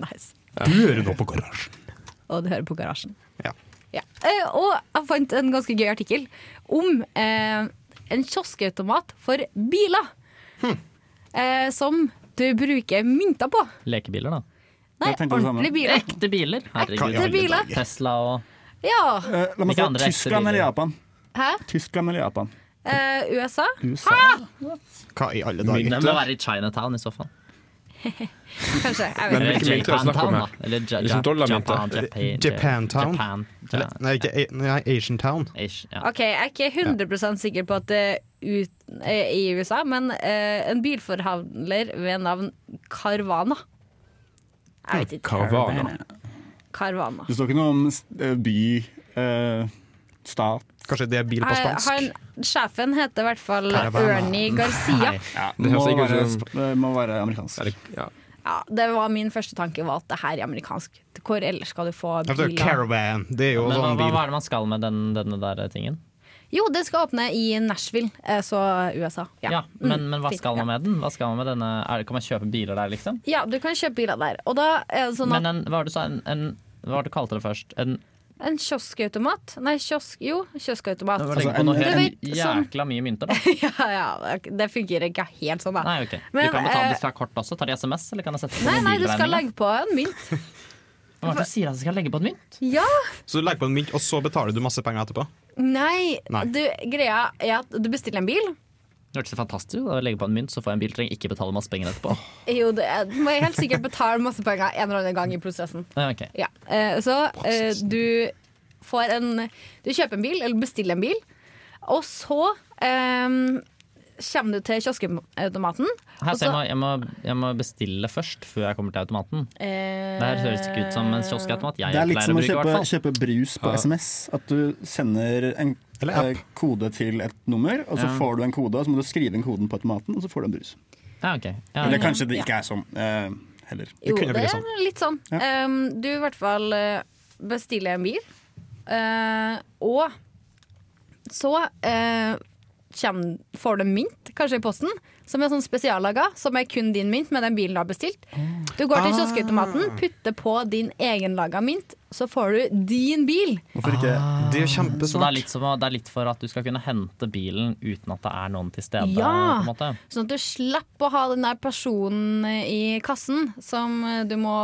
nice.
Du hører nå på Garasjen.
Og du hører på Garasjen.
Ja.
Eh, og jeg fant en ganske gøy artikkel om eh, en kioskautomat for biler.
Hm.
Eh, som du bruker mynter på.
Lekebiler, da.
Nei, ordentlige biler.
Ekte biler.
Ekte
Herregud.
biler.
Tesla og
Ja.
La meg
Hvilke
få
andre
Tyskland
ekte
eller
biler?
Japan.
Hæ?
Tyskland eller Japan?
Eh, USA?
USA.
Hva i alle
Den må være i Chinatown i så fall.
Kanskje. Jeg
Men
vet
hvilke
ikke.
mynter er det snakk om
Japantown,
her?
da. Eller ja,
Liksom
ja,
dollarmynter?
Japan, Japan,
Japantown.
Japan, ja.
Eller- Nei, ikke A- nei, Asian Town.
Ish, ja.
OK, jeg er ikke 100 sikker på at det er ut, eh, i USA, men eh, en bilforhandler ved navn Carvana. Jeg vet ikke.
Caravana.
Carvana.
Det står ikke noe om eh, by, eh, stat
Kanskje det er bil på
Eh,
spansk?
han- sjefen heter i hvert fall
Caravana.
Ernie
<laughs>
Garcia.
Ja,
det høres
må
ikke ut
være,
som-
sp- det må være amerikansk.
ja.
Ja, det var Min første tanke var at det her er amerikansk. Hvor ellers skal du få
Ja, for det
biler?
er Caravan. Det er jo
Men hva,
sånn
hva, hva
bil.
er det man skal med den, denne der tingen?
Jo, det skal åpne i Nashville, eh, så USA.
Ja,
Mm,
men, men hva
fint,
skal
ja.
man med den? Hva skal man med denne? Er, det- kan man kjøpe biler der, liksom?
Ja, du kan kjøpe biler der. Og da er det sånn at
Men en, hva var det du sa? En, en, hva var det du kalte det først? En,
En kioskautomat? Nei, kiosk... Jo, kioskautomat.
det var legge altså, på
en-
noe
du
helt
vet, sånn,
jækla mye mynter, da.
<laughs> ja, ja, det- det fungerer ikke helt sånn, da.
Nei, ok.
Men,
du kan betale
eh,
hvis du har kort også. Tar de SMS, eller kan jeg sette på
Nei, nei, du skal
mobilregninga?
legge på en mynt.
Hva er det du sier at jeg skal legge på en mynt?
Ja!
Så du legger på en mynt, og så betaler du masse penger etterpå?
Nei,
Nei.
Du, greia er at du bestiller en bil.
Det hørtes fantastisk ut. da. Legge på en mynt, så får jeg en bil. Trenger ikke betale masse penger etterpå.
Jo, det er, du må helt sikkert betale masse penger en eller annen gang i prosessen.
Ja, ok.
Ja. eh, Så eh, du får en Du kjøper en bil, eller bestiller en bil, og så eh, kommer du til kioskautomaten.
Her,
og
så
så-
jeg, må, jeg, må, jeg må bestille først, før jeg kommer til automaten.
Eh,
Det her høres ikke ut som en kioskautomat. Jeg
Det er litt
pleier
som
å
å
bruke, i
kjøpe,
hvert fall.
kjøpe brus på
Ja.
SMS. At du sender en
Eller app.
eh, kode til et nummer, og så
Ja.
får du en kode, og så må du skrive inn koden på automaten, og så får du en brus.
Ja, ok. Ja,
Eller
ja.
kanskje det ikke er sånn eh, heller.
Jo,
kunne
det
bli
er
sånn.
litt sånn. Um, du i hvert fall eh, bestiller en bil, eh, og så eh, kjem, får du en mynt, kanskje i posten, som er sånn spesiallaga, som er kun din mynt med den bilen du har bestilt. Du går til kioskautomaten, putter på din egenlaga mynt, så får du din bil.
Hvorfor ikke?
Ah.
Det er jo
Så det er,
kjempesmart.
litt som, å- det er litt for at du skal kunne hente bilen uten at det er noen til stede.
Ja.
På en måte.
Sånn at du slipper å ha den der personen i kassen som eh, du må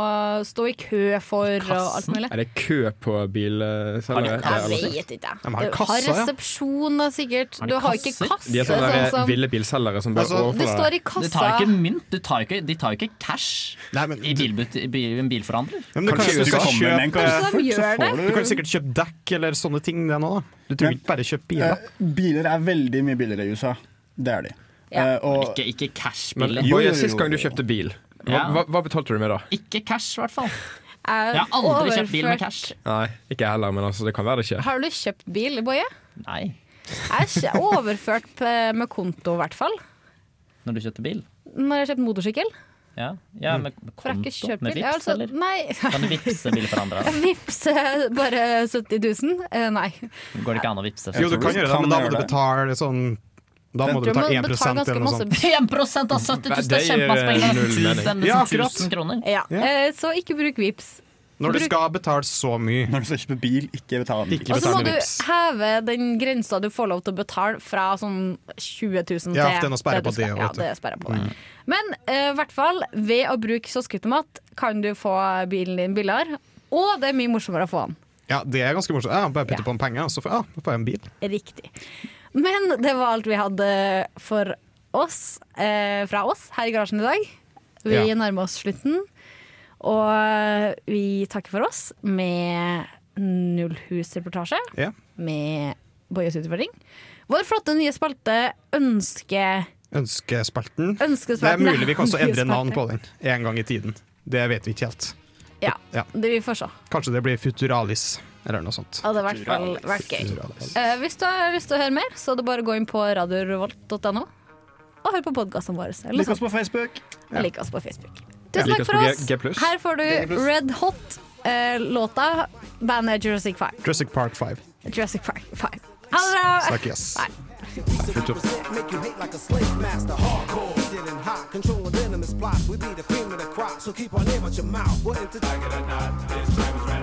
stå i kø for og alt mulig.
Er det kø på bilselgere?
Jeg vet ikke.
De
Du
har kassa, ja.
har resepsjon, da, sikkert.
Har de
Du har
kasser?
ikke kasse.
De er sånne der, eh,
sånn som-
ville bilselgere som bare
Altså,
det
overfaller
står
deg.
i
Du
kassa.
tar jo ikke mynt, du tar jo ikke, de tar jo ikke cash
Nei, men,
i, bilbut, i bil, en bilforhandler.
Ja, men du kan,
Kanskje
jo
du
sikkert
kommer med en
kjøpe,
Kanskje de
koffert, så
gjør
får
du kan
du
sikkert kjøpe dekk eller sånne ting. Det nå, da. Du trenger ikke bare kjøpe biler.
Eh, Biler er veldig mye billigere i USA. Det er de.
Ja.
Eh, og
Ikke, ikke cash-biler.
Men
Jo, jo, jo,
Boje, sist gang du
jo, jo.
kjøpte bil, hva,
Ja.
hva, hva betalte du med da?
Ikke cash, i hvert fall.
Er
Jeg har aldri kjøpt bil
overført-
med cash.
Nei, ikke jeg heller, men altså, det kan være det skjer.
Har du kjøpt bil, Boje?
Nei,
Jeg er overført p- med eh, konto, i hvert fall.
når du kjøpte bil.
Når jeg har kjøpt motorsykkel.
Ja,
Mm.
ja med
For jeg har ikke
konto?
kjøpt
Med
bil.
vips,
Ja, altså,
eller?
Nei. <laughs>
Kan du vippse bilforhandlere?
Vips eh, bare 70 000? Eh, nei.
Går det ikke an å vippse?
Jo, du kan gjøre det, men da må du betale sånn Da må du betale 1 eller noe sånt.
1
Mm.
av 70 000 det er kjempeanspenger!
eh, null mening.
1000
Ja, akkurat.
1000
<laughs>
kroner.
Ja. Eh, så ikke bruk vips.
Når du
Bruk-
skal betale så mye
Når du skal kjøpe bil, ikke betal med
Og så må du
vips.
heve den grensa du får lov til å betale fra sånn 20 000 til
Ja, for det er noe sperre
du
på det
skal-
også, Mm.
Ja,
vet du.
det er sperre på det. Men eh, i hvert fall, ved å bruke kioskautomat kan du få bilen din billigere, og det er mye morsommere å få den.
Ja, det er ganske morsomt. Ja, bare putte på en penger, og så får, ja, da får jeg en bil.
Riktig. Men det var alt vi hadde for oss, eh, fra oss her i garasjen i dag. Vi
Ja.
nærmer oss slutten, og vi takker for oss med Nullhusreportasje.
Ja.
med Bojas utfordring. Vår flotte nye spalte Ønske...
Ønskespalten. Det er
Ønskespalten,
mulig vi kan også
<laughs> ja.
endre navn på
Ønskespalten.
den en gang i tiden. Det vet vi ikke helt.
Ja,
Ja.
det vi får se.
Kanskje det blir Futuralis eller noe sånt.
Hadde i hvert fall vært gøy.
Futuralis.
Eh, hvis du har lyst til å høre mer, så er det bare å gå inn på radiorevolt.no og hør på podkastene våre. eller
Lik oss
sånt.
på Facebook.
Ja. Lik oss på Facebook.
Ja.
Tusen
Lik
takk
oss
for
på G-
oss.
G pluss.
Her får du
G pluss.
Red Hot, eh, låta bandet Jurassic Park.
Jurassic Park 5.
Jurassic Park 5. Ha det bra!
Snakkes.
Bye.
Futur.
Make you hate like a slave master, hardcore. Stealing hot, controlling venomous plots. We be the cream of the crop, so keep our name out your mouth. We're into. Like it or not, this time is right.